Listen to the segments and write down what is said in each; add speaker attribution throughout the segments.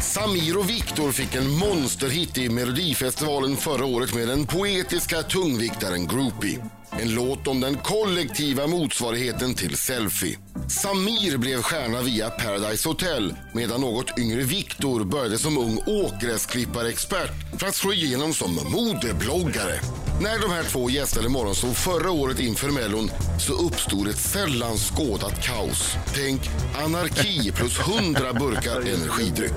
Speaker 1: Samir och Viktor fick en monsterhit i Melodifestivalen förra året med den poetiska tungviktaren Groupie. En låt om den kollektiva motsvarigheten till selfie. Samir blev stjärna via Paradise Hotel medan något yngre Viktor började som ung åkgräsklipparexpert för att slå igenom som modebloggare. När de här två gästade Morgonzoo förra året inför Mellon så uppstod ett sällan skådat kaos. Tänk anarki plus 100 burkar energidryck.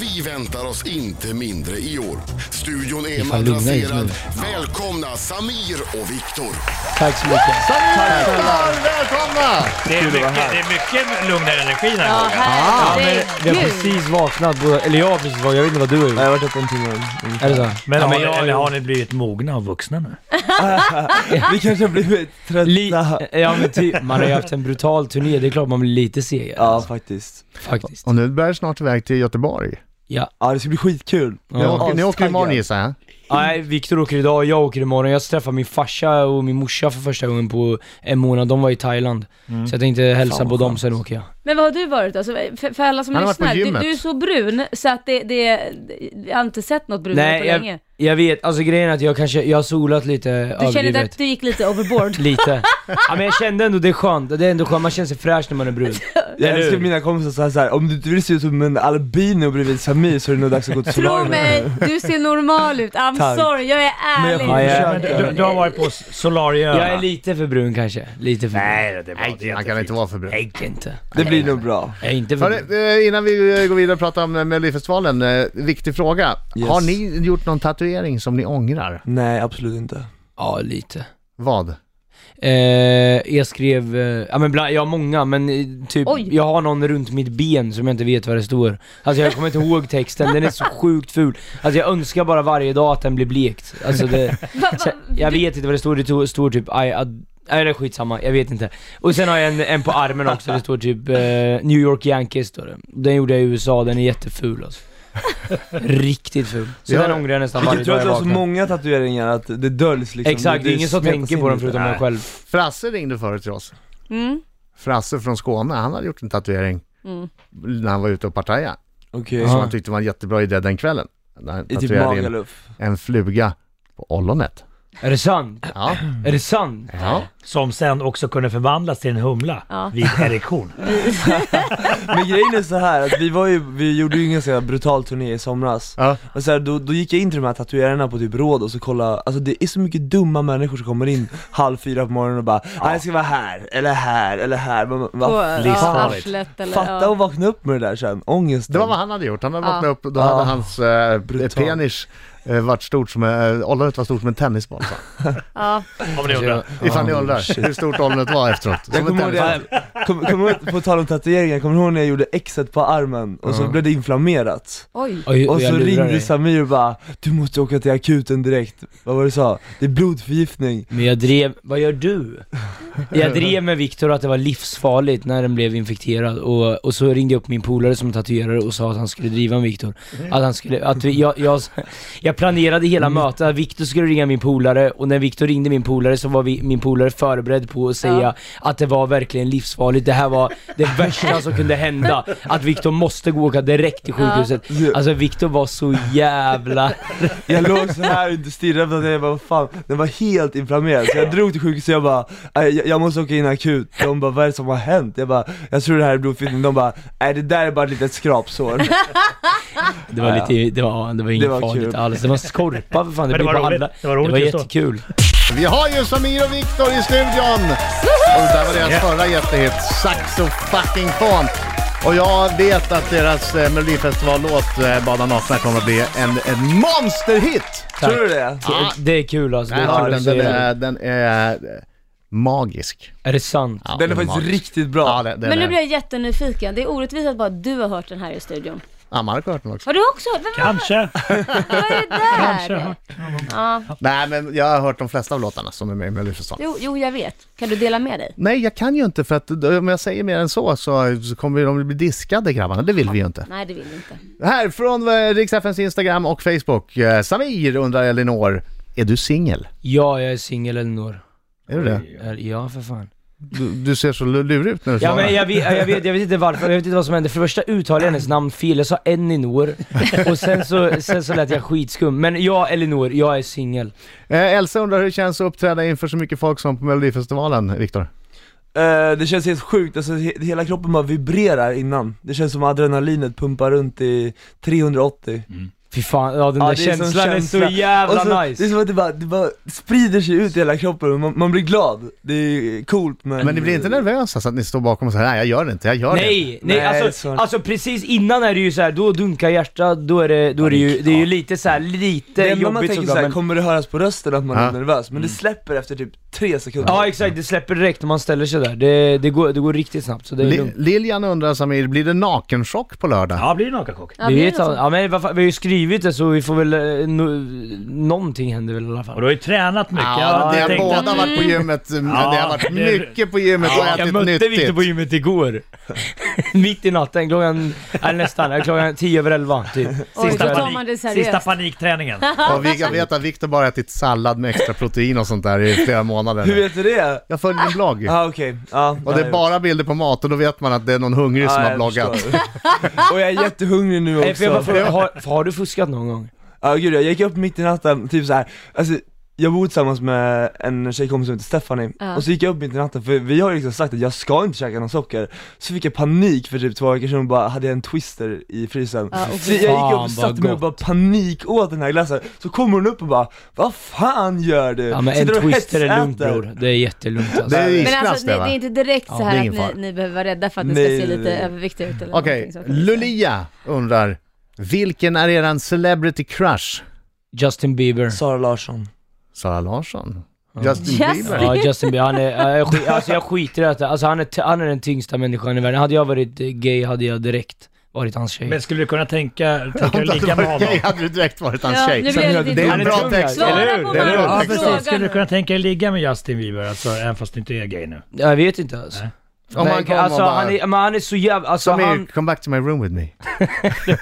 Speaker 1: Vi väntar oss inte mindre i år. Studion är
Speaker 2: Ifall lugna er
Speaker 1: madrasserad. Välkomna Samir och Viktor.
Speaker 2: Tack så mycket.
Speaker 3: Tack snälla. Välkomna!
Speaker 4: Det är, mycket, det är mycket lugnare energi den här gången.
Speaker 2: Ja,
Speaker 5: Ah!
Speaker 2: men vi har
Speaker 6: herregud.
Speaker 2: precis vaknat båda, eller jag har precis vaknat, jag vet inte vad du har gjort.
Speaker 3: Jag har varit uppe en timme. Mm.
Speaker 2: Är det så?
Speaker 4: Men,
Speaker 3: Ja,
Speaker 4: har,
Speaker 3: men
Speaker 4: ni,
Speaker 3: jag-
Speaker 4: eller har ni blivit mogna och vuxna nu?
Speaker 3: Vi kanske har blivit trötta.
Speaker 2: Li- ja, men typ, man har ju haft en brutal turné, det är klart man blir lite seg alltså,
Speaker 3: ja, faktiskt.
Speaker 2: faktiskt.
Speaker 5: Och nu bär det snart iväg till Göteborg.
Speaker 2: Ja.
Speaker 3: Ja, det ska bli skitkul.
Speaker 5: Ni åker, ni åker
Speaker 3: Astaggad.
Speaker 5: imorgon gissar jag.
Speaker 2: Nej, Viktor åker idag och jag åker imorgon. Jag ska träffa min farsa och min morsa för första gången på en månad. De var i Thailand. Så jag tänkte hälsa
Speaker 3: Fan,
Speaker 2: på
Speaker 3: vad
Speaker 2: dem,
Speaker 3: skönt.
Speaker 2: sen åker jag.
Speaker 6: Men vad har Mm. du varit alltså? För, för alla som
Speaker 5: Han har varit på
Speaker 6: lyssnar, du,
Speaker 5: gymmet.
Speaker 6: du är så brun så att det, det, jag har inte sett något brunare på länge.
Speaker 2: jag, jag vet. Alltså grejen är att jag kanske, jag har solat lite
Speaker 6: Du känner inte
Speaker 2: överdrivet.
Speaker 6: att du gick lite overboard?
Speaker 2: Lite. Ja men jag kände ändå, det är skönt. Det är ändå skönt, man känner sig fräsch när man är brun.
Speaker 3: Jag
Speaker 2: Eller
Speaker 3: älskar
Speaker 2: hur?
Speaker 3: mina kompisar såhär, såhär, om du inte vill se ut som en albino bredvid Samir så är det nog dags att gå till
Speaker 6: Tro
Speaker 3: solarium.
Speaker 6: mig, du ser normal ut. I'm
Speaker 3: Tack.
Speaker 6: sorry, jag är
Speaker 3: Men jag
Speaker 6: ärlig.
Speaker 3: kommer
Speaker 2: Ja, jag-
Speaker 3: försöka.
Speaker 4: Du, du har varit på Solarium.
Speaker 2: Jag är lite för brun kanske. Lite för brun.
Speaker 4: Nej, det är bra. det
Speaker 5: Nej,
Speaker 4: är
Speaker 5: han kan inte vara för brun.
Speaker 2: Nej, inte.
Speaker 3: Det blir nog bra.
Speaker 2: Jag är inte för brun.
Speaker 5: Hörru, eh, innan vi eh, går vidare och pratar om eh, Melodifestivalen, eh, viktig fråga.
Speaker 3: Yes.
Speaker 5: Har ni gjort någon tatuering som ni ångrar?
Speaker 3: Nej, absolut inte.
Speaker 2: Ja, lite.
Speaker 5: Vad?
Speaker 2: Eh, jag skrev, eh, ja men bland, jag har många men eh, typ,
Speaker 6: Oj.
Speaker 2: jag har någon runt mitt ben som jag inte vet vad det står. Alltså jag kommer inte ihåg texten, den är så sjukt ful. Alltså jag önskar bara varje dag att den blir blekt. Alltså det,
Speaker 6: Va, va,
Speaker 2: så, jag
Speaker 6: du-
Speaker 2: vet inte vad det står, det to- står typ I, ad- Nej det är skitsamma, jag vet inte. Och sen har jag en, en på armen också, det står typ eh, New York Yankees står det. Den gjorde jag i USA, den är jätteful alltså. Riktigt ful. Så
Speaker 5: Ja.
Speaker 2: den ångrar jag nästan varje
Speaker 3: Vilket tror
Speaker 2: dag
Speaker 3: att
Speaker 2: jag
Speaker 3: du har så
Speaker 2: vaknar.
Speaker 3: många tatueringar att det döljs liksom.
Speaker 2: Exakt, det är ingen som
Speaker 3: smetas
Speaker 2: tänker
Speaker 3: in
Speaker 2: på den
Speaker 3: lite.
Speaker 2: förutom jag
Speaker 3: Nej.
Speaker 2: själv.
Speaker 5: Frasse ringde förut till oss.
Speaker 6: Mm.
Speaker 5: Frasse från Skåne, han hade gjort en tatuering
Speaker 6: Mm.
Speaker 5: när han var ute och partajade.
Speaker 3: Okej.
Speaker 5: Som
Speaker 2: Ja.
Speaker 5: han tyckte var en jättebra idé den kvällen. När han
Speaker 3: I typ
Speaker 5: tatuerade in
Speaker 3: Magaluf.
Speaker 5: en fluga på ollonet.
Speaker 2: Är det sant?
Speaker 5: Ja.
Speaker 2: Är det sant?
Speaker 5: ja.
Speaker 4: Som sen också kunde förvandlas till en humla
Speaker 6: Ja.
Speaker 4: vid erektion.
Speaker 3: Men grejen är så här att vi var ju, vi gjorde ju en ganska brutal turné i somras
Speaker 5: Ja.
Speaker 3: Och så här, då, då gick jag in till de här tatuerarna på typ råd och så kolla, alltså det är så mycket dumma människor som kommer in halv fyra på morgonen och bara "Ah, jag ska vara här, eller här, eller här' Men,
Speaker 6: På
Speaker 3: vad
Speaker 6: ja,
Speaker 4: livsfarligt.
Speaker 6: arslet eller...
Speaker 3: Fatta och vakna upp med det där sen, ångesten
Speaker 5: Det var vad han hade gjort. Han hade
Speaker 6: Ja.
Speaker 5: vaknat upp, då
Speaker 3: Ja.
Speaker 5: hade hans eh,
Speaker 3: Brutalt.
Speaker 5: penis eh, varit stort som, eh, ollonet var stort som en tennisboll. sa han.
Speaker 6: Ja.
Speaker 4: Om ni undrar.
Speaker 5: Ifall ni
Speaker 3: Oh,
Speaker 5: undrar hur stort ollonet var efteråt.
Speaker 3: Jag kommer ihåg det, kom, kom, ihåg- på tal om tatueringar, kommer du ihåg när jag gjorde exet på armen och så blev det inflammerat?
Speaker 6: Oj.
Speaker 2: Oj,
Speaker 3: Och
Speaker 2: jag
Speaker 3: så
Speaker 2: lurar
Speaker 3: ringde
Speaker 2: dig.
Speaker 3: Samir och bara 'Du måste åka till akuten direkt' Vad var det du sa? Det är blodförgiftning
Speaker 2: Men jag drev, vad gör du? Jag drev med Viktor att det var livsfarligt när den blev infekterad och, och så ringde jag upp min polare som tatuerare och sa att han skulle driva med Viktor. Att han skulle, att vi, jag, jag, jag planerade hela mötet att Viktor skulle ringa min polare och när Viktor ringde min polare så var vi, min polare förberedd på att säga
Speaker 6: Ja.
Speaker 2: att det var verkligen livsfarligt. Det här var det värsta som kunde hända. Att Viktor måste gå och åka direkt till sjukhuset. Alltså Viktor var så jävla...
Speaker 3: Jag låg så här och inte stirrade på den, jag bara vad fan, den var helt inflammerad Så jag drog till sjukhuset och jag bara, "Aj, jag, jag måste åka in akut De bara, vad är det som har hänt? Jag bara, jag tror det här är blodförgiftning, de bara, nej det där är bara ett litet skrapsår
Speaker 2: Det var lite, det var, det var inget
Speaker 3: Det var
Speaker 2: farligt
Speaker 3: kul.
Speaker 2: alls. Det var skorpa för fan. Det,
Speaker 4: Men det
Speaker 2: blev
Speaker 4: var
Speaker 2: på
Speaker 4: roligt.
Speaker 2: alla.
Speaker 4: Det var roligt just då.
Speaker 2: jättekul.
Speaker 5: Vi har ju Samir och Viktor i studion! Och det där var deras förra jättehit, Saxo fucking fon. Och jag vet att deras eh, melodifestivallåt eh, Bada nakna kommer att bli en, en monsterhit!
Speaker 3: Tror du det?
Speaker 2: Det- Det är kul alltså. Det
Speaker 5: Jag
Speaker 2: är,
Speaker 5: har
Speaker 2: kul att
Speaker 5: den, den,
Speaker 2: se.
Speaker 5: är, den är eh, magisk.
Speaker 2: är det sant?
Speaker 5: Ja,
Speaker 3: Den är faktiskt
Speaker 5: magisk.
Speaker 3: riktigt bra
Speaker 5: Ja, den, den
Speaker 6: Men nu
Speaker 5: är.
Speaker 6: blir jag jättenyfiken. Det är orättvist att bara du har hört den här i studion.
Speaker 5: Ja, Marco har hört den också.
Speaker 6: Har du också hört? Vad,
Speaker 4: Kanske.
Speaker 6: vad är det där?
Speaker 4: Kanske.
Speaker 6: Ja.
Speaker 5: Nej, men jag har hört de flesta av låtarna som är med i Melodifestivalen.
Speaker 6: Jo, jo, jag vet. Kan du dela med dig?
Speaker 5: Nej, jag kan ju inte för att eh, om jag säger mer än så så så kommer de bli diskade grabbarna. Det vill vi ju inte.
Speaker 6: Nej, det vill du inte.
Speaker 5: Här från eh, Riks-FNs Instagram och Facebook. Eh, Samir undrar Elinor, är du singel?
Speaker 2: Ja, jag är singel Elinor.
Speaker 5: Är du det?
Speaker 2: Är- Ja, för fan.
Speaker 5: Du, du ser så lurig ut när du
Speaker 2: Ja,
Speaker 5: svarar.
Speaker 2: men jag, vet, jag, vet, jag vet inte varför, jag vet inte vad som hände. För det första uttalade jag hennes namn fel, jag sa Elinor. Och sen så, sen så lät jag skitskum. Men ja, Elinor, jag är singel.
Speaker 5: Eh, Elsa undrar hur det känns att uppträda inför så mycket folk som på Melodifestivalen, Viktor?
Speaker 3: Eh, det känns helt sjukt, alltså, he- hela kroppen bara vibrerar innan. Det känns som adrenalinet pumpar runt i 380.
Speaker 2: Fy fan, ja, den
Speaker 3: Ja,
Speaker 2: där
Speaker 3: det är sån
Speaker 2: känslan är
Speaker 3: känsla.
Speaker 2: så
Speaker 3: Och
Speaker 2: jävla
Speaker 3: så, Det är
Speaker 2: nice.
Speaker 3: som att det bara, det bara sprider sig ut i hela kroppen och man, man blir glad. Det är coolt men...
Speaker 5: Men ni blir inte nervösa så att ni står bakom och säger nej jag gör det inte, jag gör det inte.
Speaker 2: Nej, nej,
Speaker 3: Nej,
Speaker 2: alltså,
Speaker 3: så-
Speaker 2: alltså precis innan är det ju så här, då dunkar hjärtat, då är det, då är det ju, det är ju lite så här, lite
Speaker 3: Det enda man
Speaker 2: jobbigt
Speaker 3: tänker
Speaker 2: såklart
Speaker 3: såhär,
Speaker 2: men...
Speaker 3: kommer det höras på rösten att man
Speaker 5: Ja. Mm.
Speaker 3: är nervös? Men det släpper efter typ tre sekunder.
Speaker 2: Ja exakt, det släpper direkt när man ställer sig där. Det, det, går, det går riktigt snabbt så det är
Speaker 5: Li-
Speaker 2: lugnt.
Speaker 5: Liljan undrar Samir, blir det nakenchock på lördag?
Speaker 4: Ja, blir det nakenchock?
Speaker 6: Ja,
Speaker 2: vi,
Speaker 6: blir
Speaker 2: vet,
Speaker 6: det så?
Speaker 2: att- ja, men, vad fan, vi har ju skrivit det så vi får väl, eh, no, någonting händer väl i alla
Speaker 4: Och
Speaker 2: fall.
Speaker 4: du har ju tränat mycket.
Speaker 5: Ja,
Speaker 4: Jag
Speaker 5: ni har
Speaker 4: tänkte
Speaker 5: båda
Speaker 4: att-
Speaker 5: varit på gymmet, eh, ni har varit
Speaker 4: det-
Speaker 5: mycket på gymmet och
Speaker 2: Jag
Speaker 5: ätit
Speaker 2: mötte
Speaker 5: nyttigt.
Speaker 2: Viktor på gymmet igår. Mitt i natten, klockan, eller nästan, eller klockan tio över elva typ.
Speaker 6: Oj,
Speaker 4: Sista,
Speaker 6: då tar
Speaker 4: panik,
Speaker 6: man det
Speaker 4: sista
Speaker 6: seriöst.
Speaker 4: panikträningen.
Speaker 5: Och vi, jag vet att Viktor bara ätit sallad med extra protein och sånt där i flera månader.
Speaker 3: Hur
Speaker 5: nu.
Speaker 3: vet du det?
Speaker 5: Jag följer en blogg.
Speaker 3: Ja ah, okej, ja.
Speaker 5: Och det är bara bilder på mat och då vet man att det är någon hungrig som har bloggat.
Speaker 3: och jag är jättehungrig nu
Speaker 2: Nej, för jag bara
Speaker 3: också.
Speaker 2: frågar, har, har du fuskat någon gång?
Speaker 3: Ja gud, jag gick upp mitt i natten, typ så här. alltså jag bor tillsammans med en tjejkompis som heter Stephanie,
Speaker 6: Ja.
Speaker 3: och så gick jag upp mitt i natten för vi har ju liksom sagt att jag ska inte käka någon socker Så fick jag panik för typ två veckor sedan och bara hade jag en twister i frysen
Speaker 6: Ja, och
Speaker 3: Så jag gick upp
Speaker 2: Fan,
Speaker 3: och satte
Speaker 2: vad
Speaker 3: mig och bara panik åt den här glassen, så kommer hon upp och bara Vad fan gör du?
Speaker 2: Ja men en
Speaker 3: Sitter och
Speaker 2: twister är lugnt
Speaker 3: hetsäter."
Speaker 2: bror, det är jättelugnt alltså.
Speaker 5: Det är
Speaker 6: Men
Speaker 5: isglass
Speaker 6: alltså, det,
Speaker 5: det
Speaker 6: det
Speaker 5: va?
Speaker 6: är inte direkt så
Speaker 5: Ja, det är
Speaker 6: här
Speaker 5: ingen
Speaker 6: att ni, ni behöver vara rädda för att ni
Speaker 3: Nej,
Speaker 6: ska se
Speaker 3: nej,
Speaker 6: lite
Speaker 3: nej.
Speaker 6: överviktiga ut eller
Speaker 5: Okej,
Speaker 6: någonting sånt.
Speaker 5: Lulia undrar, vilken är eran celebrity crush?
Speaker 2: Justin Bieber.
Speaker 3: Sara Larsson
Speaker 5: Sara Larsson? Justin
Speaker 6: Justin.
Speaker 5: Bieber?
Speaker 2: Ja Justin Bieber, han är, ja, jag, skit, alltså jag skiter i att alltså han är, t- han är den tyngsta människan i världen. Hade jag varit eh, gay hade jag direkt varit hans tjej.
Speaker 4: Men skulle du kunna tänka, tänka
Speaker 5: Om du hade
Speaker 4: lika med
Speaker 5: varit
Speaker 4: honom?
Speaker 5: gay hade du direkt varit hans
Speaker 6: Ja,
Speaker 5: tjej.
Speaker 6: nu blir jag lite
Speaker 5: det är en
Speaker 2: dum.
Speaker 5: bra
Speaker 2: Han är
Speaker 5: text.
Speaker 2: tung,
Speaker 6: Svara
Speaker 2: eller hur?
Speaker 6: på
Speaker 5: Det är
Speaker 6: Marcos
Speaker 5: lugnt.
Speaker 4: Ja,
Speaker 6: fråga
Speaker 4: precis. Skulle
Speaker 6: nu.
Speaker 4: du kunna tänka dig ligga med Justin Bieber, alltså, även fast du inte är gay nu?
Speaker 2: Jag vet inte alltså.
Speaker 4: Nej.
Speaker 5: Om han
Speaker 2: Nej,
Speaker 5: kom och
Speaker 2: alltså,
Speaker 5: bara-
Speaker 2: han, är, men han är så jävla... Alltså,
Speaker 5: Samir,
Speaker 2: han,
Speaker 5: come back to my room with me.
Speaker 2: nej,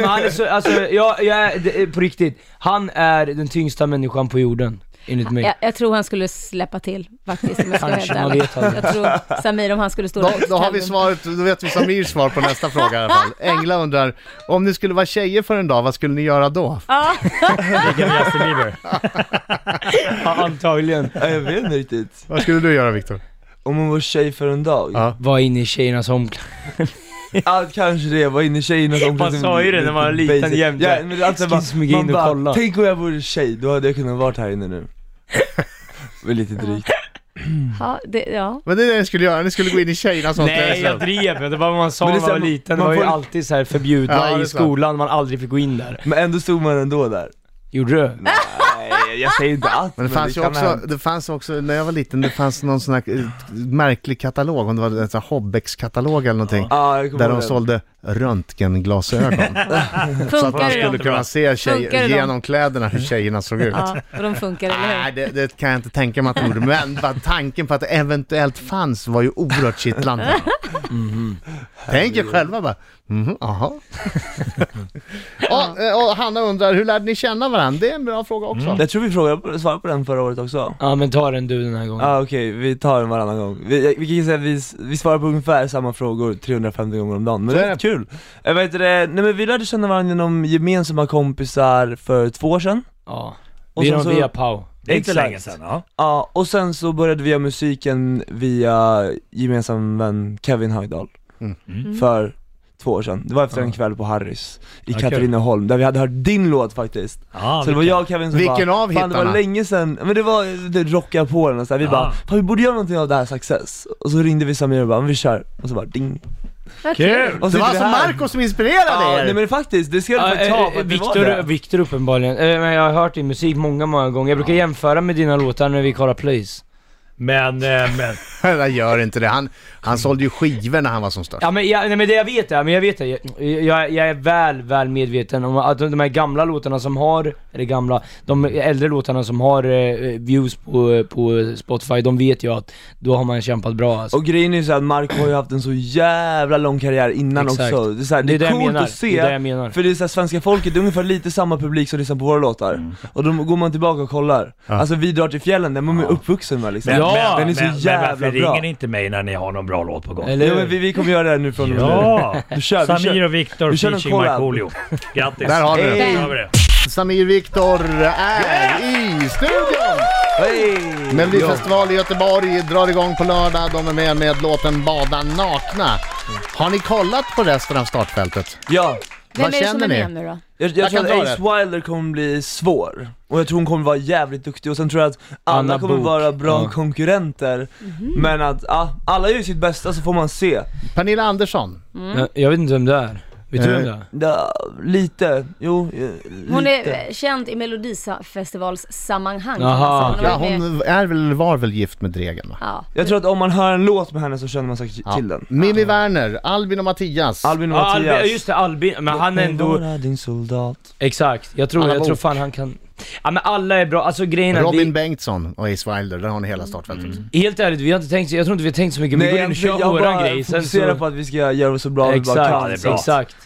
Speaker 2: men han är så, alltså, jag, jag är, det är på riktigt. Han är den tyngsta människan på jorden, enligt mig.
Speaker 6: Jag, jag tror han skulle släppa till faktiskt om jag ska vara helt
Speaker 2: Kanske, man
Speaker 6: ärlig.
Speaker 2: vet aldrig.
Speaker 6: Jag tror Samir om han skulle stå
Speaker 5: Då,
Speaker 6: där-
Speaker 5: då har vi svaret, då vet vi Samirs svar på nästa fråga i alla fall. Engla undrar, om ni skulle vara tjejer för en dag, vad skulle ni göra då?
Speaker 6: Ja,
Speaker 4: Ligga med Justin Bieber?
Speaker 2: Antagligen.
Speaker 3: Ja, Jag vet inte riktigt,
Speaker 5: Vad skulle du göra Viktor?
Speaker 3: om hon var tjej för en dag?
Speaker 5: Ja.
Speaker 3: Ja,
Speaker 2: Var inne i tjejernas omklädning.
Speaker 3: kanske det, var inne i tjejernas omklädningsrum
Speaker 2: sa ju det när man var liten
Speaker 3: Basic.
Speaker 2: jämt.
Speaker 3: ja, men alltså, bara,
Speaker 2: Excuse me, gå in
Speaker 3: man
Speaker 2: och
Speaker 3: bara,
Speaker 2: kolla.
Speaker 3: Tänk om jag vore tjej, då hade jag kunnat varit här inne nu Men lite drygt
Speaker 6: ja, det, ja.
Speaker 5: Men det är det ni skulle göra, ni skulle gå in i tjejernas
Speaker 2: Nej
Speaker 5: omklädningsrum.
Speaker 2: jag drev, Alltså. det var vad man sa
Speaker 3: Men det
Speaker 2: när
Speaker 3: är
Speaker 2: man var
Speaker 3: så här,
Speaker 2: liten. Det
Speaker 3: man
Speaker 2: var ju
Speaker 3: får-
Speaker 2: alltid så här förbjudna
Speaker 5: Ja, det är
Speaker 2: i
Speaker 5: sant.
Speaker 2: skolan, man aldrig fick gå in där.
Speaker 3: Men ändå stod man ändå där
Speaker 2: Gjorde du?
Speaker 3: Nej, jag säger inte att
Speaker 5: Men det fanns ju
Speaker 3: kan
Speaker 5: också,
Speaker 3: hända.
Speaker 5: det fanns också, när jag var liten, det fanns någon sån här eh, märklig katalog, om det var en sån här Hobbex-katalog eller någonting.
Speaker 3: Ja, jag kommer
Speaker 5: Där
Speaker 3: ihåg
Speaker 5: de
Speaker 3: det.
Speaker 5: sålde röntgenglasögon. så att
Speaker 6: Funkar
Speaker 5: man
Speaker 6: det
Speaker 5: skulle
Speaker 6: då?
Speaker 5: kunna se
Speaker 6: Funkar det
Speaker 5: tjejer,
Speaker 6: då? Mm.
Speaker 5: genom kläderna hur tjejerna såg ut.
Speaker 6: Ja, och de funkar, eller
Speaker 5: Nej,
Speaker 6: hur?
Speaker 5: det, det kan jag inte tänka mig att de gjorde, men bara tanken på att det eventuellt fanns var ju oerhört kittlande.
Speaker 3: Mhm.
Speaker 5: Tänk er själva bara, mhm, aha. och, eh, och Hanna undrar, hur lärde ni känna varandra? Det är en bra fråga också.
Speaker 3: Jag tror vi frågade, svarade på den förra året också
Speaker 2: Ja men ta den du den här gången.
Speaker 3: Ja
Speaker 5: Mm.
Speaker 3: ah, okej, vi tar den varannan gång. Vi, vi kan säga att vi, s- vi svarar på ungefär samma frågor 350 gånger om dagen, men
Speaker 5: Så
Speaker 3: det
Speaker 5: är
Speaker 3: är kul. Jag vet inte, det, nej men vi lärde känna varandra genom gemensamma kompisar för två år sedan.
Speaker 2: Ja.
Speaker 3: Och
Speaker 2: Vi är
Speaker 3: sen
Speaker 2: de
Speaker 3: så-
Speaker 2: via Pau.
Speaker 4: Det är inte
Speaker 3: Exakt.
Speaker 4: länge sedan. Ja.
Speaker 3: Ja, och sen så började vi göra musiken via gemensam vän Kevin Höjdahl
Speaker 5: Mm.
Speaker 6: Mm.
Speaker 3: För två år sedan, det var efter en kväll på Harrys i
Speaker 4: Ja, kul.
Speaker 3: Katrineholm, där vi hade hört din låt faktiskt
Speaker 4: Ja,
Speaker 3: Så det var jag och Kevin som
Speaker 5: Vilken
Speaker 3: bara,
Speaker 5: av
Speaker 3: fan det
Speaker 5: hittarna?"
Speaker 3: var länge sedan, men det var, det rockade på den och så här. vi
Speaker 4: Ah.
Speaker 3: bara, fan vi borde göra någonting av det här success Och så ringde vi Samir och bara, men vi kör, och så bara ding
Speaker 6: Vad
Speaker 4: Kul!
Speaker 3: och så
Speaker 5: Det var
Speaker 3: sitter
Speaker 5: alltså
Speaker 3: här.
Speaker 5: Marco som inspirerade
Speaker 3: Ja,
Speaker 5: er!
Speaker 3: nej men faktiskt, det ska du
Speaker 2: Ja,
Speaker 3: faktiskt
Speaker 2: eh,
Speaker 3: ta
Speaker 2: eh,
Speaker 3: för att det var
Speaker 2: Viktor,
Speaker 3: det
Speaker 2: Viktor uppenbarligen. Eh, Men jag har hört din musik många, många gånger. Jag brukar jämföra med dina låtar när vi kollar plays.
Speaker 4: Men, eh, men
Speaker 5: Nej, gör inte det. Han, han sålde ju skivor när han var som störst.
Speaker 2: Ja men, jag, nej, men det jag vet är, men jag vet det. Jag, jag, jag är väl, väl medveten om att de här gamla låtarna som har, eller gamla, de äldre låtarna som har eh, views på, på Spotify, de vet ju att då har man kämpat bra alltså.
Speaker 3: Och grejen är ju såhär, Marco har ju haft en så jävla lång karriär innan
Speaker 2: Exakt.
Speaker 3: också Det är, så här, det är,
Speaker 2: jag
Speaker 3: coolt
Speaker 2: menar.
Speaker 3: att se
Speaker 2: Det är det jag menar.
Speaker 3: För det är såhär, svenska folket, det är ungefär lite samma publik
Speaker 4: Mm.
Speaker 3: som lyssnar på våra låtar Och då går man tillbaka och kollar Alltså vi drar till fjällen, där man är uppvuxen med liksom
Speaker 2: Ja,
Speaker 4: men,
Speaker 3: den är så
Speaker 4: men,
Speaker 3: jävla
Speaker 4: men varför
Speaker 3: bra.
Speaker 4: ringer ni inte mig när ni har någon bra låt på gång?
Speaker 2: Eller
Speaker 3: Ja,
Speaker 2: hur?
Speaker 3: men vi, vi kommer göra det här nu från och med
Speaker 4: Ja!
Speaker 3: nu. Du kör, vi
Speaker 4: Samir
Speaker 3: kör.
Speaker 4: och Viktor
Speaker 3: vi kör en
Speaker 4: featuring
Speaker 3: collab.
Speaker 4: Markoolio. Grattis!
Speaker 5: Där har vi det.
Speaker 4: Där har vi det.
Speaker 5: Samir Viktor är i studion!
Speaker 3: Hey!
Speaker 5: Melodifestival i Göteborg drar igång på lördag. De är med med låten Bada nakna. Har ni kollat på resten av startfältet?
Speaker 3: Ja,
Speaker 6: Vem
Speaker 5: Vad
Speaker 6: är det som
Speaker 5: känner
Speaker 6: är
Speaker 5: ni?
Speaker 6: med nu då?
Speaker 3: jag, jag,
Speaker 5: Jag
Speaker 3: tror
Speaker 5: kan
Speaker 3: att
Speaker 5: ta
Speaker 3: Ace Wilder kommer bli svår. Och jag tror hon kommer vara jävligt duktig och sen tror jag att alla
Speaker 2: Anna
Speaker 3: kommer
Speaker 2: Bok.
Speaker 3: vara bra
Speaker 2: Ja.
Speaker 3: konkurrenter.
Speaker 6: Mhm.
Speaker 3: Men att, ja, alla gör ju sitt bästa så får man se.
Speaker 5: Pernilla Andersson.
Speaker 2: Ja, Jag vet inte vem det är. Vet du
Speaker 5: Eh,
Speaker 2: vem det är?
Speaker 3: Ja, lite, jo, eh, lite.
Speaker 6: Hon är eh, känd i Melodifestivalssammanhang. kan
Speaker 2: Jaha,
Speaker 6: man säga.
Speaker 5: Ja,
Speaker 6: har varit med-
Speaker 5: hon är väl, var väl gift med Dregen va?
Speaker 6: Ja.
Speaker 3: Jag tror att om man hör en låt med henne så känner man sig
Speaker 5: Ja.
Speaker 3: till den.
Speaker 5: Mimmi Werner, Albin och Mattias.
Speaker 3: Albin och
Speaker 2: Ja, Albin, ja,
Speaker 3: Mattias.
Speaker 2: just det, Albin. Men han är ändå...
Speaker 3: Vara din soldat.
Speaker 2: Exakt, jag tror,
Speaker 5: Alla
Speaker 2: jag
Speaker 5: var
Speaker 2: tror
Speaker 5: ok.
Speaker 2: fan han kan... Ja men alla är bra, alltså grejen är
Speaker 5: Robin
Speaker 2: vi, Mm.
Speaker 5: Bengtsson och Ace Wilder, där har ni hela startfältet.
Speaker 2: Helt ärligt, vi har inte tänkt, jag tror inte vi har tänkt så mycket, vi går in och
Speaker 3: egentligen,
Speaker 2: kör våran grej sen
Speaker 3: fokuserar
Speaker 2: så...
Speaker 3: på att vi ska göra det så bra vi bara kan.
Speaker 2: Exakt, exakt.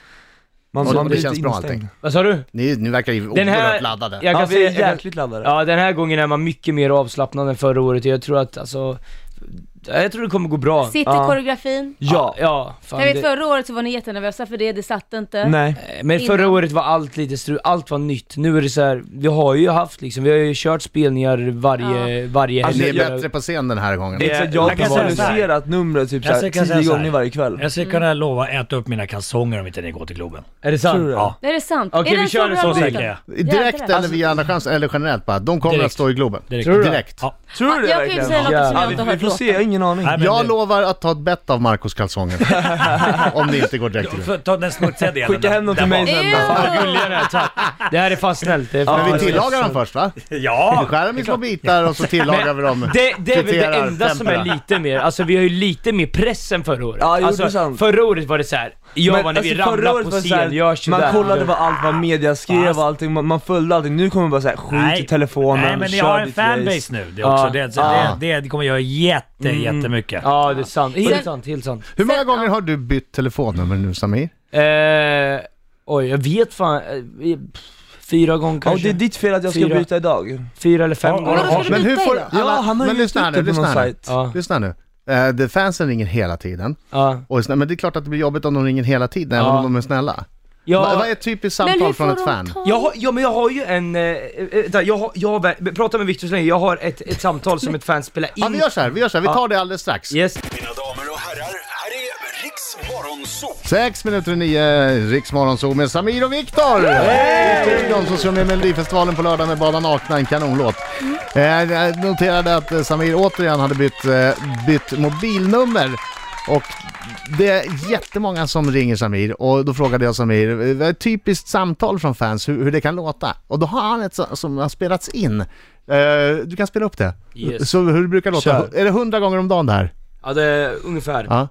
Speaker 3: Man,
Speaker 5: Och
Speaker 3: man
Speaker 5: det
Speaker 3: blir
Speaker 5: känns
Speaker 3: inte
Speaker 5: bra
Speaker 3: instängd.
Speaker 5: allting.
Speaker 2: Vad sa du?
Speaker 5: Ni, ni verkar ju
Speaker 2: Den här-
Speaker 5: oerhört laddade.
Speaker 2: Jag kan
Speaker 3: Ja, vi
Speaker 2: säga,
Speaker 3: är
Speaker 2: jag kan,
Speaker 3: jäkligt laddade.
Speaker 2: ja den här gången är man mycket mer avslappnad än förra året, jag tror att alltså... Jag tror det kommer gå bra.
Speaker 6: Sitter
Speaker 3: Ja.
Speaker 6: koreografin?
Speaker 3: Ja.
Speaker 2: Ja, fan
Speaker 6: Jag vet
Speaker 2: det,
Speaker 6: förra året så var ni jättenervösa för det, det satt inte.
Speaker 3: Nej.
Speaker 2: Men förra
Speaker 6: innan.
Speaker 2: året var allt lite stru, allt var nytt. Nu är det så här, vi har ju haft liksom, vi har ju kört spelningar varje, varje
Speaker 3: Alltså,
Speaker 5: Ni
Speaker 2: helg.
Speaker 5: är
Speaker 3: jag-
Speaker 5: bättre på scen den här gången.
Speaker 3: Det är,
Speaker 4: jag
Speaker 3: jag har
Speaker 4: kan säga så här.
Speaker 3: visualiserat numret typ
Speaker 4: Jag
Speaker 3: såhär,
Speaker 4: ska- kan säga
Speaker 3: tio
Speaker 4: så här.
Speaker 3: gånger varje kväll.
Speaker 4: Jag skulle kunna lova att äta upp mina kalsonger om inte ni går till Globen.
Speaker 2: Är det sant?
Speaker 3: Tror du det?
Speaker 4: Ja.
Speaker 6: Är det sant?
Speaker 2: Okej,
Speaker 6: är
Speaker 2: vi
Speaker 6: den
Speaker 2: kör
Speaker 6: bra
Speaker 2: det så
Speaker 6: låten?
Speaker 4: Säkert jag.
Speaker 5: Direkt
Speaker 6: Jävlar.
Speaker 5: eller via Andra chansen, eller generellt bara. De kommer
Speaker 4: Direkt.
Speaker 5: att stå i Globen.
Speaker 4: Direkt.
Speaker 2: Tror du det?
Speaker 5: Direkt.
Speaker 4: Ja.
Speaker 3: Tror du det
Speaker 6: Jag kan ju
Speaker 3: verkligen?
Speaker 6: säga låtar som jag inte har
Speaker 3: vi, vi
Speaker 6: hört
Speaker 3: får se, jag har
Speaker 6: låten.
Speaker 3: ingen aning.
Speaker 4: Nej, men
Speaker 5: Jag
Speaker 4: det-
Speaker 5: lovar att ta ett bett av Marcos kalsonger. Om det inte går direkt till
Speaker 4: För- Ta den smutsiga delen.
Speaker 3: Skicka hem dem till mig sen då.
Speaker 6: Ew!
Speaker 2: Vad gulliga ni är, tack. Det här är fan snällt. Det är fan
Speaker 5: Men vi
Speaker 2: snällt.
Speaker 5: tillagar dem först va? Vi
Speaker 4: Ja!
Speaker 5: skär dem i små bitar och så tillagar vi dem.
Speaker 2: Det, det är väl det
Speaker 5: Friterar,
Speaker 2: enda som är
Speaker 5: tempera.
Speaker 2: lite mer, alltså vi har ju lite mer press än förra året.
Speaker 3: Ja, jo, det är
Speaker 2: alltså,
Speaker 3: sant.
Speaker 2: förra året var det så här. jag
Speaker 3: Men
Speaker 2: var när vi
Speaker 3: alltså, förra
Speaker 2: ramlade
Speaker 3: året
Speaker 2: på
Speaker 3: var det så här,
Speaker 2: scen, gör sådär.
Speaker 3: Man kollade vad allt vad media skrev
Speaker 4: Fast-
Speaker 3: och
Speaker 2: alltså-
Speaker 3: allting, man, man följde allting. Nu kommer man bara säga skit
Speaker 4: Nej.
Speaker 3: i telefonen,
Speaker 4: Nej men ni
Speaker 3: kör
Speaker 4: har en
Speaker 3: ditt race. Mm.
Speaker 4: fanbase nu. Det, är också,
Speaker 2: Ja.
Speaker 4: det, så
Speaker 5: Ja.
Speaker 4: det, det kommer göra jätte, jättemycket.
Speaker 2: Ja det är sant, helt
Speaker 6: Sen-
Speaker 2: sant, helt sant.
Speaker 5: Hur många
Speaker 6: Sen-
Speaker 5: gånger har du bytt telefonnummer nu Samir?
Speaker 2: Eh, oj jag vet fan, eh, vi- pff, fyra gånger
Speaker 3: Ja, och
Speaker 2: kanske.
Speaker 3: det är ditt fel att jag ska
Speaker 2: Fyra.
Speaker 3: byta idag.
Speaker 2: Fyra eller fem
Speaker 4: Ja,
Speaker 2: gånger.
Speaker 4: vadå,
Speaker 6: Vadå, ska
Speaker 5: Men
Speaker 6: du
Speaker 5: hur
Speaker 6: byta
Speaker 5: får-
Speaker 6: idag?
Speaker 3: Ja, han har ju
Speaker 5: men lyssna här
Speaker 3: lyssnat
Speaker 5: nu,
Speaker 3: ut det på någon
Speaker 5: lyssna här nu.
Speaker 3: sajt.
Speaker 2: Ja,
Speaker 5: Lyssna nu. Eh, det- fansen ringer hela tiden.
Speaker 2: ja.
Speaker 5: Och, snä- men det är klart att det blir jobbigt om de ringer hela tiden, även
Speaker 2: Ja.
Speaker 5: om de är snälla. Va- Vad är
Speaker 2: Jag,
Speaker 5: ett typiskt
Speaker 6: Men hur
Speaker 5: samtal från
Speaker 6: får
Speaker 5: ett
Speaker 6: de
Speaker 5: fan?
Speaker 6: ta-
Speaker 2: jag, har, ja, men jag har ju en, eh, eh, vänta, jag, har, jag har, ver- prata med Victor så länge, jag har ett, ett samtal som ett fan spelar
Speaker 5: Ja, vi
Speaker 2: in.
Speaker 5: gör så här, vi gör så här. Vi tar det alldeles strax.
Speaker 2: Yes.
Speaker 7: Mina damer och herrar, här är Riks Morgonzoo!
Speaker 5: Sex minuter i nio, Riksmorgonzoo med Samir och Viktor! Hey! I studion så kör vi Melodifestivalen på lördag med Bada nakna, en kanonlåt. Eh, jag noterade att eh, Samir återigen hade bytt, eh, bytt mobilnummer och det är jättemånga som ringer Samir och då frågade jag Samir, eh, vad är ett typiskt samtal från fans, hur, hur det kan låta? Och då har han ett så- som har spelats in. Eh, du kan spela upp det.
Speaker 2: Yes.
Speaker 5: Så hur det brukar låta.
Speaker 3: Kör.
Speaker 5: Är det hundra gånger om dagen det här?
Speaker 2: Ja det är ungefär.
Speaker 5: Ja.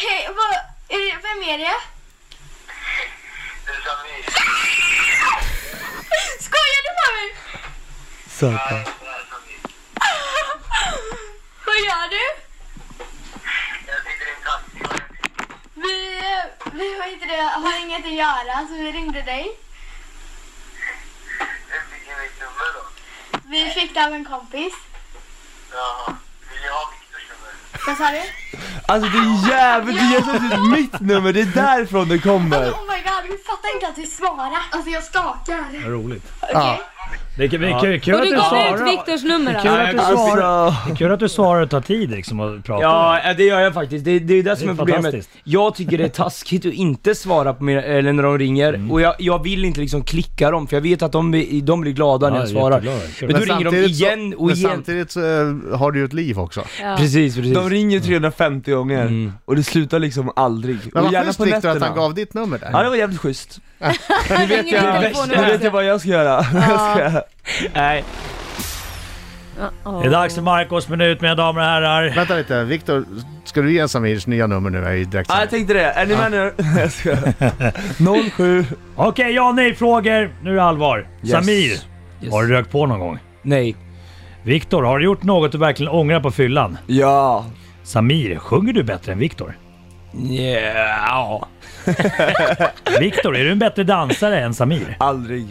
Speaker 8: Hej, vad, är det, vem är det? Skojar du med mig?
Speaker 3: Söta.
Speaker 8: Vad gör du? Vi, eh, vi vad heter det, har inget att göra så vi ringde dig. Vi fick det av en kompis. Vad sa du?
Speaker 3: Alltså det är jävligt, det är som typ mitt nummer, det är därifrån det kommer.
Speaker 8: Oh my god, vi fattar inte att vi svarar. Alltså jag skakar.
Speaker 4: Vad Roligt.
Speaker 8: Okej.
Speaker 4: Det är kul, det är kul, kul
Speaker 6: Och
Speaker 4: att
Speaker 6: du
Speaker 4: du
Speaker 6: gav ut
Speaker 4: svarar.
Speaker 6: Viktors nummer alltså?
Speaker 2: Kul att du svarar.
Speaker 3: Alltså,
Speaker 4: Det är kul att du svarar och tar tid liksom att prata.
Speaker 2: Ja, eh, det gör jag faktiskt. Det, det är det som
Speaker 4: Det
Speaker 2: är
Speaker 4: är
Speaker 2: problemet.
Speaker 4: fantastiskt.
Speaker 2: Jag tycker det är taskigt att inte svara på mina, eller när de ringer,
Speaker 3: Mm.
Speaker 2: och jag, jag vill inte liksom klicka dem för jag vet att de, blir- de blir glada när
Speaker 4: Ja,
Speaker 2: jag svarar.
Speaker 4: jätteglada. Kul.
Speaker 2: Men då ringer de
Speaker 5: samtidigt så-
Speaker 2: igen och
Speaker 5: men
Speaker 2: igen.
Speaker 5: samtidigt så eh, har du ju ett liv också.
Speaker 6: Ja.
Speaker 2: Precis, precis.
Speaker 3: de ringer 350 gånger och det slutar liksom aldrig.
Speaker 5: Men
Speaker 3: och
Speaker 5: vad
Speaker 3: gärna
Speaker 5: schysst
Speaker 3: på
Speaker 5: Viktor att han
Speaker 3: nätterna.
Speaker 5: gav ditt nummer där.
Speaker 3: Ja det var jävligt schysst.
Speaker 6: Nu vet
Speaker 2: jag-
Speaker 3: Nu vet jag vad jag ska göra. Jag ska-
Speaker 2: Nej.
Speaker 4: Det är dags för Marcos minut mina damer och herrar.
Speaker 5: Vänta lite, Viktor, ska du ge Samirs nya nummer nu här i direkt
Speaker 3: Ja jag tänkte det, är ni med nu? Jag skojar. 07.
Speaker 4: Okej, ja nej frågor. Nu är det allvar.
Speaker 3: Yes.
Speaker 4: Samir,
Speaker 2: Yes.
Speaker 4: har du rökt på någon gång?
Speaker 2: Nej.
Speaker 4: Viktor, har du gjort något du verkligen ångrar på fyllan?
Speaker 3: Ja.
Speaker 4: Samir, sjunger du bättre än Viktor?
Speaker 2: Yeah.
Speaker 4: Viktor, är du en bättre dansare än Samir?
Speaker 3: Aldrig.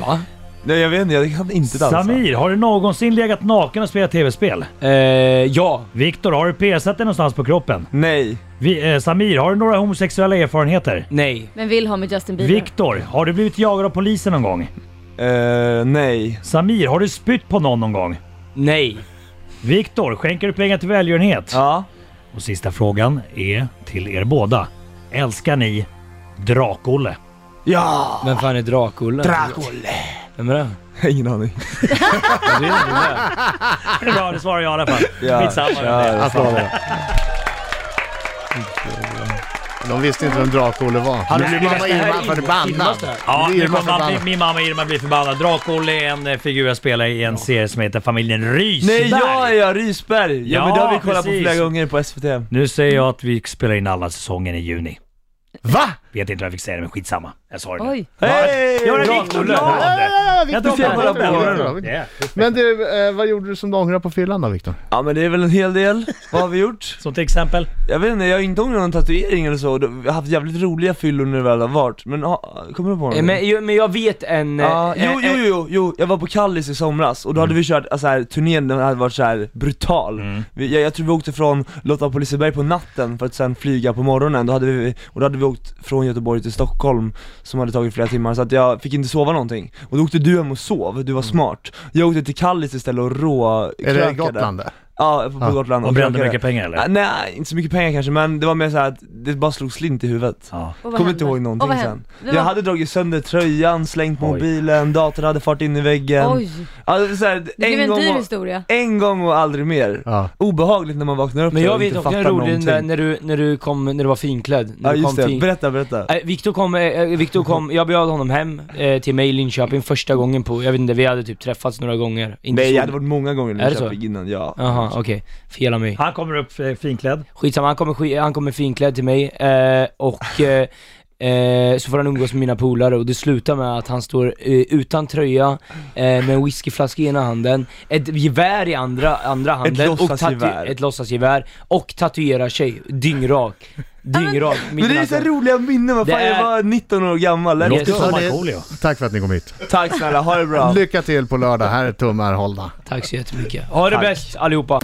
Speaker 2: Va?
Speaker 3: Nej jag vet inte, jag kan inte dansa.
Speaker 4: Samir, har du någonsin legat naken och spelat tv-spel?
Speaker 2: Eh, ja.
Speaker 4: Viktor, har du pesat dig någonstans på kroppen?
Speaker 3: Nej.
Speaker 4: Vi, eh, Samir, har du några homosexuella erfarenheter?
Speaker 2: Nej.
Speaker 6: Men vill ha med Justin Bieber.
Speaker 4: Viktor, har du blivit jagad av polisen någon gång?
Speaker 3: Eh, nej.
Speaker 4: Samir, har du spytt på någon någon gång?
Speaker 2: Nej.
Speaker 4: Viktor, skänker du pengar till välgörenhet?
Speaker 3: Ja.
Speaker 4: Och sista frågan är till er båda. Älskar ni Drak-Olle?
Speaker 3: Ja!
Speaker 2: Vem fan är Drak-Olle?
Speaker 3: Dracolle.
Speaker 2: Vem är det?
Speaker 3: Ingen aning.
Speaker 4: Det är bra, det svarar jag i alla fall.
Speaker 3: Ja.
Speaker 4: Skitsamma.
Speaker 3: Ja, det är
Speaker 5: Alltså,
Speaker 3: sant.
Speaker 5: de visste inte vem Drak-Olle var. Nu blir
Speaker 4: det här
Speaker 5: mamma
Speaker 4: är
Speaker 5: Irma
Speaker 4: Irma.
Speaker 5: förbannad.
Speaker 4: Ja,
Speaker 5: Nu blir
Speaker 4: nu
Speaker 5: Irma
Speaker 4: kommer man,
Speaker 5: förbannad.
Speaker 4: min, min mamma Irma blir förbannad. Drak-Olle är en eh, figur jag spelar i en serie som heter Familjen Rysberg.
Speaker 3: Nej, jag är jag, Rysberg! Ja,
Speaker 4: Ja,
Speaker 3: men det har vi kollat
Speaker 4: precis.
Speaker 3: på flera gånger på SVT.
Speaker 4: Nu säger jag att vi spelar in alla säsongen i juni.
Speaker 5: Va?
Speaker 4: Vet inte vad jag fick säga det, men skitsamma. Jag sa det nu.
Speaker 6: Oj.
Speaker 3: Hej!
Speaker 4: Jag är
Speaker 3: Bra,
Speaker 4: Viktor
Speaker 3: Olle.
Speaker 4: glad!
Speaker 5: Ja,
Speaker 4: Jag
Speaker 5: Viktor,
Speaker 4: tror
Speaker 3: jag
Speaker 5: kolla
Speaker 3: kollar på
Speaker 5: på det.
Speaker 4: Yeah.
Speaker 5: Men du, eh, vad gjorde du som du ångrar på fyllan då Viktor?
Speaker 3: Ja men det är väl en hel del. Vad har vi gjort?
Speaker 4: Som till exempel.
Speaker 3: Jag vet inte, jag har inte ångrat någon tatuering eller så. Jag har haft jävligt roliga fyllor när det väl har varit. Men ha, kommer du på
Speaker 2: Eh,
Speaker 3: någon?
Speaker 2: Men, jo, men jag vet en... eh,
Speaker 3: Ja,
Speaker 2: eh,
Speaker 3: jo, jo,
Speaker 2: eh,
Speaker 3: jo, jo, jag var på Kallis i somras och då hade vi kört, alltså här, turnén den hade varit så här brutal vi, jag, jag tror vi åkte från Lotta på Liseberg på natten för att sen flyga på morgonen, då hade vi, och då hade vi åkt från Göteborg till Stockholm som hade tagit flera timmar så att jag fick inte sova någonting Och då åkte du hem och sov, du var smart Jag åkte till Kallis istället och
Speaker 5: Är
Speaker 3: råkrökade
Speaker 5: det Gotland? där?
Speaker 3: Ja, på, på
Speaker 5: Ja.
Speaker 3: Gotland
Speaker 4: Och brände
Speaker 3: krökade.
Speaker 4: mycket pengar
Speaker 3: Ah,
Speaker 4: eller?
Speaker 3: Nej, inte så mycket pengar kanske men det var mer så här att det bara slog slint i huvudet
Speaker 4: Ja.
Speaker 6: Och vad
Speaker 3: Kommer
Speaker 6: hände?
Speaker 3: inte ihåg
Speaker 6: Och
Speaker 3: någonting
Speaker 6: vad
Speaker 3: sen.
Speaker 6: hände? Det
Speaker 3: Jag
Speaker 6: var-
Speaker 3: hade dragit sönder tröjan, slängt
Speaker 4: Oj.
Speaker 3: mobilen, datorn hade fart in i väggen.
Speaker 6: Oj,
Speaker 3: Alltså, så här,
Speaker 6: det
Speaker 3: en,
Speaker 6: blev en dyr
Speaker 3: gång och,
Speaker 6: historia.
Speaker 3: en gång och aldrig mer.
Speaker 5: Ja.
Speaker 3: Obehagligt när man vaknar upp
Speaker 2: Men
Speaker 3: så
Speaker 2: jag
Speaker 3: och
Speaker 2: vet
Speaker 3: inte
Speaker 2: också en
Speaker 3: fattar
Speaker 2: rolig den där
Speaker 3: någonting.
Speaker 2: när du, när du kom, när du var finklädd. När
Speaker 3: Ja
Speaker 2: du kom
Speaker 3: just det,
Speaker 2: fin-
Speaker 3: berätta, berätta.
Speaker 2: Eh, Viktor kom, eh, Victor kom, jag bjöd honom hem eh, till mig i Linköping första gången på, jag vet inte, vi hade typ träffats några gånger. Inte
Speaker 3: Nej
Speaker 2: så-
Speaker 3: jag hade varit många gånger
Speaker 2: Är
Speaker 3: när
Speaker 2: det så?
Speaker 3: jag innan, ja.
Speaker 2: Jaha, okej. Fel av mig.
Speaker 4: Han kommer upp eh, finklädd.
Speaker 2: Skitsamma, han kommer, sk- han kommer finklädd till mig eh, och eh, eh, så får han umgås med mina polare och det slutar med att han står eh, utan tröja, eh, med en whiskyflaska i ena handen, ett gevär i andra, andra handen och tatu-
Speaker 3: låtsasgevär.
Speaker 2: ett låtsasgevär och tatuerar sig dyngrak. Dyngrak. mitt i
Speaker 3: Men det är ju så här
Speaker 2: natten.
Speaker 3: roliga minnen, vad
Speaker 2: Det
Speaker 3: fan jag
Speaker 2: är-
Speaker 3: var 19 år gammal. Let's
Speaker 4: Låter
Speaker 3: go.
Speaker 4: som
Speaker 5: Ja, det-
Speaker 4: Markoolio.
Speaker 5: Tack för att ni kom hit.
Speaker 3: Tack snälla, ha det bra.
Speaker 5: Lycka till på lördag, här är tummar hållna.
Speaker 2: Tack så jättemycket. Ha det bäst allihopa.